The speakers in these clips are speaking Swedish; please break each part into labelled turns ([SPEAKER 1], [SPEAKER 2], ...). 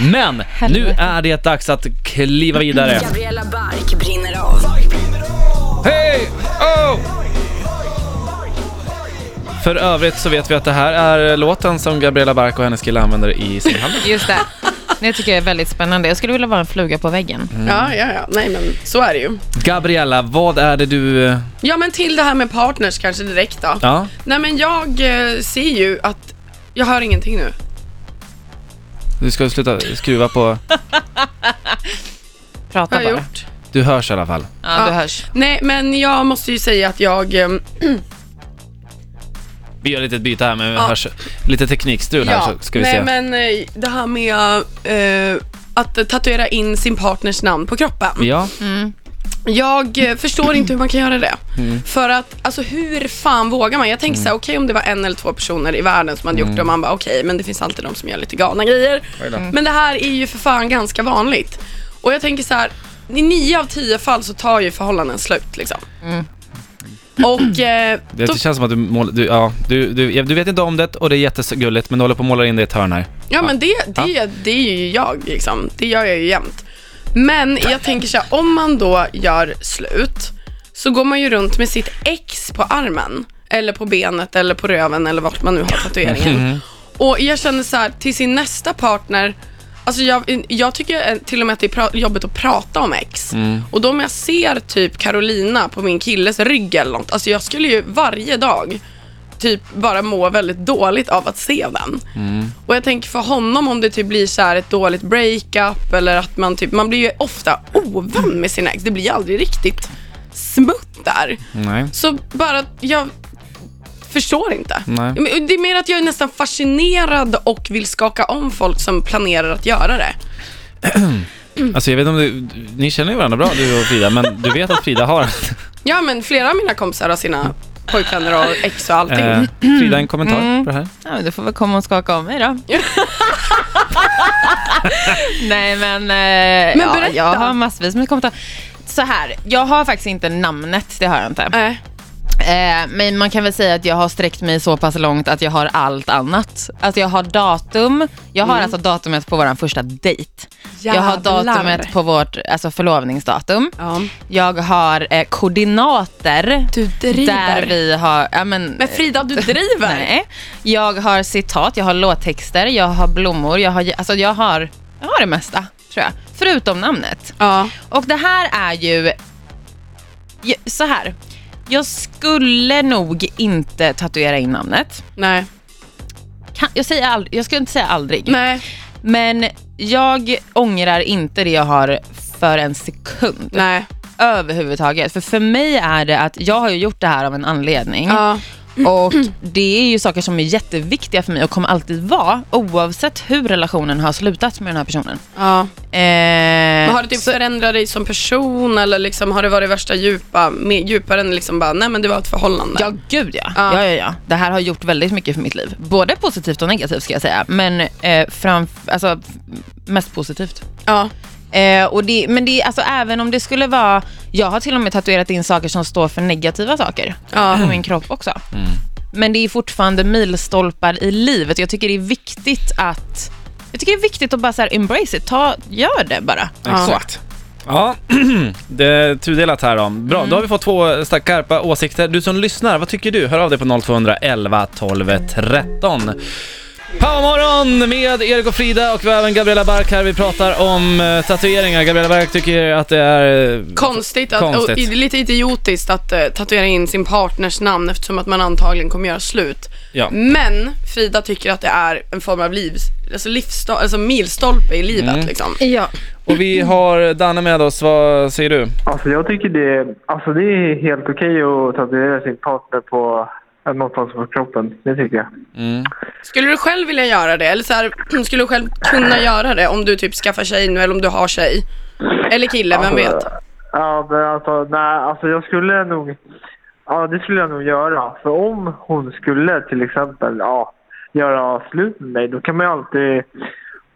[SPEAKER 1] Men nu är det dags att kliva vidare.
[SPEAKER 2] Gabriella Bark brinner av.
[SPEAKER 1] Hej! Oh! För övrigt så vet vi att det här är låten som Gabriella Bark och hennes kille använder i sin handling.
[SPEAKER 3] Just det. Det tycker jag är väldigt spännande. Jag skulle vilja vara en fluga på väggen.
[SPEAKER 4] Ja, ja, ja. Nej, men så är det ju.
[SPEAKER 1] Gabriella, vad är det du... eh,
[SPEAKER 4] Ja, men till det här med partners kanske direkt då.
[SPEAKER 1] Ja,
[SPEAKER 4] Nej, men jag eh, ser ju att... Jag hör ingenting nu.
[SPEAKER 1] du ska sluta skruva på...
[SPEAKER 3] Prata
[SPEAKER 4] Har jag
[SPEAKER 3] bara.
[SPEAKER 4] gjort?
[SPEAKER 1] Du hörs i alla fall.
[SPEAKER 3] Ja, du
[SPEAKER 4] Ja.
[SPEAKER 3] hörs.
[SPEAKER 4] Nej, men jag måste ju säga att jag... eh,
[SPEAKER 1] Vi gör ett litet byte här med
[SPEAKER 4] Ja.
[SPEAKER 1] hörs... lite teknikstrul här så ska vi
[SPEAKER 4] nej,
[SPEAKER 1] se.
[SPEAKER 4] men eh, det här med eh, att tatuera in sin partners namn på kroppen.
[SPEAKER 1] Ja,
[SPEAKER 4] Jag eh, förstår inte hur man kan göra det.
[SPEAKER 1] Mm.
[SPEAKER 4] För att, alltså hur fan vågar man? Jag tänker så här, okej om det var en eller två personer i världen som hade gjort det och man bara okej, men det finns alltid de som gör lite galna grejer.
[SPEAKER 1] Mm. Oj då.
[SPEAKER 4] Men det här är ju för fan ganska vanligt. Och jag tänker så här, i nio av tio fall så tar ju förhållanden slut liksom. Och eh,
[SPEAKER 1] Mm. det
[SPEAKER 4] då,
[SPEAKER 1] känns som att du mål... du, ja, du, du, du vet inte om det och det är jättegulligt men du håller på och målar in det i ett hörn här.
[SPEAKER 4] ja men det, det, det är ju jag liksom. Det gör jag ju jämt. Men jag tänker så här, om man då gör slut så går man ju runt med sitt ex på armen eller på benet eller på röven eller vart man nu har tatueringen. Och jag känner så här, till sin nästa partner, alltså jag, jag tycker eh, till och med att det är pra- jobbigt att prata om ex. Och då om jag ser typ Carolina på min killes rygg eller något, alltså jag skulle ju varje dag typ bara må väldigt dåligt av att se den. Och jag tänker för honom om det typ blir så här ett dåligt breakup eller att man typ, man blir ju ofta ovän med sina ex. Det blir aldrig riktigt smutt där.
[SPEAKER 1] Nej.
[SPEAKER 4] Så bara, jag förstår inte.
[SPEAKER 1] Nej.
[SPEAKER 4] Men Det är mer att jag är nästan fascinerad och vill skaka om folk som planerar att göra det.
[SPEAKER 1] Alltså jag vet inte om du... Ni känner ju varandra bra du och Frida men du vet att Frida har...
[SPEAKER 4] Ja, men flera av mina kompisar har sina pojkvänner och ex och allting.
[SPEAKER 1] Eh, Frida, en kommentar på det här?
[SPEAKER 3] Ja, men du får väl komma och skaka om mig då. Nej, men, eh,
[SPEAKER 4] Men
[SPEAKER 3] ja,
[SPEAKER 4] berätta.
[SPEAKER 3] jag har massvis med kommentarer. Så här, jag har faktiskt inte namnet, det har jag inte.
[SPEAKER 4] Nej.
[SPEAKER 3] Eh, men man kan väl säga att jag har sträckt mig så pass långt att jag har allt annat. Alltså jag har datum, jag har alltså datumet på vår första dejt. Jag har
[SPEAKER 4] Mm. Jävlar.
[SPEAKER 3] datumet på vårt alltså förlovningsdatum.
[SPEAKER 4] Ja.
[SPEAKER 3] Jag har eh, koordinater
[SPEAKER 4] Du driver.
[SPEAKER 3] där vi har... Ja, men, eh,
[SPEAKER 4] Men Frida, du driver.
[SPEAKER 3] Nej. Jag har citat, jag har låttexter, jag har blommor, jag har, alltså jag har, jag har det mesta tror jag. Förutom namnet.
[SPEAKER 4] Ja.
[SPEAKER 3] Och det här är ju, ju- så här. Jag skulle nog inte tatuera in namnet.
[SPEAKER 4] Nej.
[SPEAKER 3] Kan, jag, säger aldrig, jag skulle inte säga aldrig.
[SPEAKER 4] Nej.
[SPEAKER 3] Men jag ångrar inte det jag har för en sekund
[SPEAKER 4] Nej.
[SPEAKER 3] överhuvudtaget. För för mig är det att jag har ju gjort det här av en anledning.
[SPEAKER 4] Ja.
[SPEAKER 3] Och det är ju saker som är jätteviktiga för mig och kommer alltid vara oavsett hur relationen har slutat med den här personen.
[SPEAKER 4] ja.
[SPEAKER 3] Eh,
[SPEAKER 4] Men har det typ förändrat dig som person eller liksom, har det varit värsta djupa, mer, djupare än liksom bara, nej men det var ett förhållande?
[SPEAKER 3] Ja, gud ja.
[SPEAKER 4] Ja.
[SPEAKER 3] Ja. ja, ja, Det här har gjort väldigt mycket för mitt liv. Både positivt och negativt ska jag säga. Men eh, framf- alltså, mest positivt.
[SPEAKER 4] Ja.
[SPEAKER 3] Eh, och det, men det, alltså, även om det skulle vara... Jag har till och med tatuerat in saker som står för negativa saker
[SPEAKER 4] Ja.
[SPEAKER 1] Mm.
[SPEAKER 3] på min kropp också. Men det är fortfarande milstolpar i livet. Jag tycker det är viktigt att... Jag tycker det är viktigt att bara så här embrace it. Ta, gör det bara.
[SPEAKER 1] Exakt. Ja, det är tudelat här då. Bra, då har vi fått två starka, skarpa åsikter. Du som lyssnar, vad tycker du? Hör av dig på 0211 12 13. Powermorgon med Erik och Frida och vi har även Gabriella Bark här. Vi pratar om eh, tatueringar. Gabriella Bark tycker att det är... eh,
[SPEAKER 4] Konstigt, att,
[SPEAKER 1] Konstigt.
[SPEAKER 4] Och, i- lite idiotiskt att eh, tatuera in sin partners namn eftersom att man antagligen kommer göra slut.
[SPEAKER 1] Ja.
[SPEAKER 4] Men Frida tycker att det är en form av livs, alltså livsstol, alltså milstolpe i livet
[SPEAKER 3] Mm.
[SPEAKER 4] liksom.
[SPEAKER 3] Ja.
[SPEAKER 1] Och vi har Danne med oss. Vad säger du?
[SPEAKER 5] Alltså jag tycker det, alltså det är helt okej att tatuera sin partner på någonstans på kroppen. Det tycker jag.
[SPEAKER 4] Skulle du själv vilja göra det? Eller så här, skulle du själv kunna göra det om du typ skaffar tjej nu eller om du har tjej? Eller kille, vem vet?
[SPEAKER 5] Alltså, Ja, men alltså, nej, alltså jag skulle nog... Ja, det skulle jag nog göra. För om hon skulle till exempel ja, göra slut med mig, då kan man ju alltid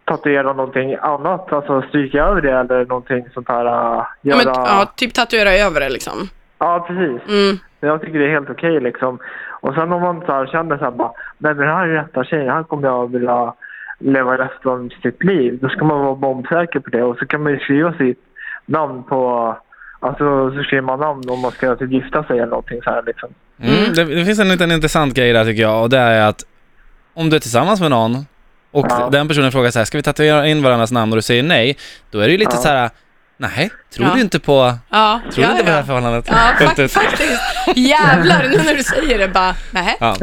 [SPEAKER 5] tatuera någonting annat. Alltså stryka över det eller någonting sånt här. äh,
[SPEAKER 4] Ja,
[SPEAKER 5] Göra...
[SPEAKER 4] men, ja, typ tatuera över det liksom.
[SPEAKER 5] Ja, precis.
[SPEAKER 4] Mm.
[SPEAKER 5] Men Jag tycker det är helt okej liksom. Och sen om man så här, känner så här bara, nej men den här är rätta tjejen, här kommer jag vilja leva resten av sitt liv. Då ska man vara bombsäker på det och så kan man ju skriva sitt namn på, alltså så skriver man namn om man ska typ gifta sig eller någonting så här liksom.
[SPEAKER 1] Mm, det, det finns en liten intressant grej där tycker jag och det är att om du är tillsammans med någon och
[SPEAKER 5] Ja.
[SPEAKER 1] den personen frågar så här, ska vi tatuera in varandras namn och du säger nej, då är det ju lite
[SPEAKER 5] Ja.
[SPEAKER 1] så här, nej, tror
[SPEAKER 4] Ja.
[SPEAKER 1] du inte på,
[SPEAKER 4] Ja,
[SPEAKER 1] tror du
[SPEAKER 4] ja,
[SPEAKER 1] inte på det här
[SPEAKER 4] ja.
[SPEAKER 1] förhållandet?
[SPEAKER 4] Ja,
[SPEAKER 1] Fullt
[SPEAKER 4] fak-
[SPEAKER 1] ut.
[SPEAKER 4] faktiskt. Jävlar, nu när du säger det bara, nej,
[SPEAKER 1] ja.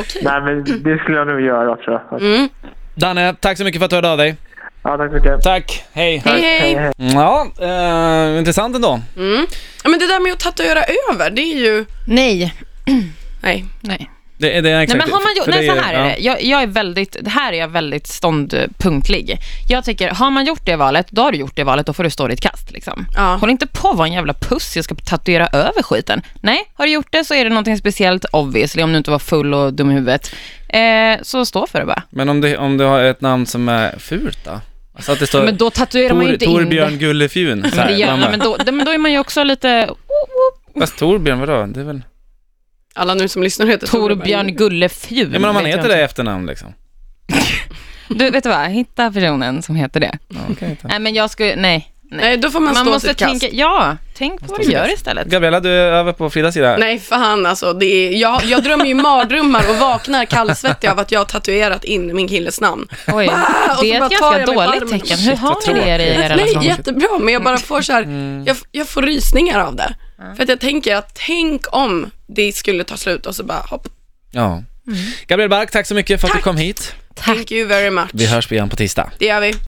[SPEAKER 4] okej.
[SPEAKER 5] Nej men det skulle jag nog göra tror jag.
[SPEAKER 4] Mm.
[SPEAKER 1] Danne, tack så mycket för att du hörde av dig.
[SPEAKER 5] Ja, tack så mycket.
[SPEAKER 1] Tack, hej.
[SPEAKER 4] Hej, hej.
[SPEAKER 1] Ja, eh, intressant ändå.
[SPEAKER 4] Ja, men det där med att tatuera över, det är ju...
[SPEAKER 3] Nej.
[SPEAKER 4] Nej.
[SPEAKER 3] Nej.
[SPEAKER 1] Det, det är
[SPEAKER 3] Nej,
[SPEAKER 1] exakt.
[SPEAKER 3] men har man gjort,
[SPEAKER 1] för
[SPEAKER 3] nej,
[SPEAKER 1] det
[SPEAKER 3] så här är
[SPEAKER 1] ja.
[SPEAKER 3] det. Jag, jag är väldigt, det här är jag väldigt ståndpunktlig. Jag tycker, har man gjort det valet, då har du gjort det valet, då får du stå ditt kast. Liksom.
[SPEAKER 4] Ja.
[SPEAKER 3] Håll inte på att vara en jävla puss, jag ska tatuera över skiten. Nej, har du gjort det så är det någonting speciellt obviously, om du inte var full och dum i huvudet. Eh, så stå för det bara.
[SPEAKER 1] Men om, det, om du har ett namn som är fult då? Alltså att det står
[SPEAKER 3] Men då tatuerar man
[SPEAKER 1] Tor,
[SPEAKER 3] ju inte
[SPEAKER 1] Torbjörn
[SPEAKER 3] in
[SPEAKER 1] Gullefjun. så
[SPEAKER 3] det.
[SPEAKER 1] här.
[SPEAKER 3] det gör,
[SPEAKER 1] Man
[SPEAKER 3] nej,
[SPEAKER 1] bara,
[SPEAKER 3] men, då, nej, men då är man ju också lite oh, oh,
[SPEAKER 1] Fast Torbjörn, vadå? Det är väl...
[SPEAKER 4] Alla nu som lyssnar heter
[SPEAKER 3] Torbjörn Gullefjun.
[SPEAKER 1] Ja, men om man
[SPEAKER 3] vet
[SPEAKER 1] heter
[SPEAKER 3] jag
[SPEAKER 1] det i efternamn liksom.
[SPEAKER 3] inte. Du, vet du vad? Hitta personen som heter det.
[SPEAKER 1] Ja, okej, tack.
[SPEAKER 3] Nej, men jag skulle, nej.
[SPEAKER 4] Nej, då får man,
[SPEAKER 3] Man
[SPEAKER 4] stå
[SPEAKER 3] måste
[SPEAKER 4] sitt kast.
[SPEAKER 3] tänka, ja, tänk på vad du gör istället.
[SPEAKER 1] Gabriella, du är över på Fridas sida.
[SPEAKER 4] Nej, fan alltså. Det är, jag, jag drömmer ju mardrömmar och vaknar kallsvettig av att jag har tatuerat in min killes namn.
[SPEAKER 3] Oj,
[SPEAKER 4] och så
[SPEAKER 3] det är
[SPEAKER 4] bara
[SPEAKER 3] ett
[SPEAKER 4] tar jag
[SPEAKER 3] ganska
[SPEAKER 4] mig på
[SPEAKER 3] dåligt
[SPEAKER 4] armen.
[SPEAKER 3] tecken. Hur
[SPEAKER 1] vad
[SPEAKER 3] har ni det i
[SPEAKER 1] tråkigt.
[SPEAKER 3] era
[SPEAKER 4] Nej,
[SPEAKER 3] relation?
[SPEAKER 4] jättebra, men jag bara får så här,
[SPEAKER 1] Mm.
[SPEAKER 4] jag, jag får rysningar av det. För att jag tänker att tänk om det skulle ta slut och så bara hopp.
[SPEAKER 1] Ja. Gabriel Bark, tack så mycket för att du kom hit.
[SPEAKER 4] Thank you very much.
[SPEAKER 1] Vi hörs igen på tisdag.
[SPEAKER 4] Det gör vi.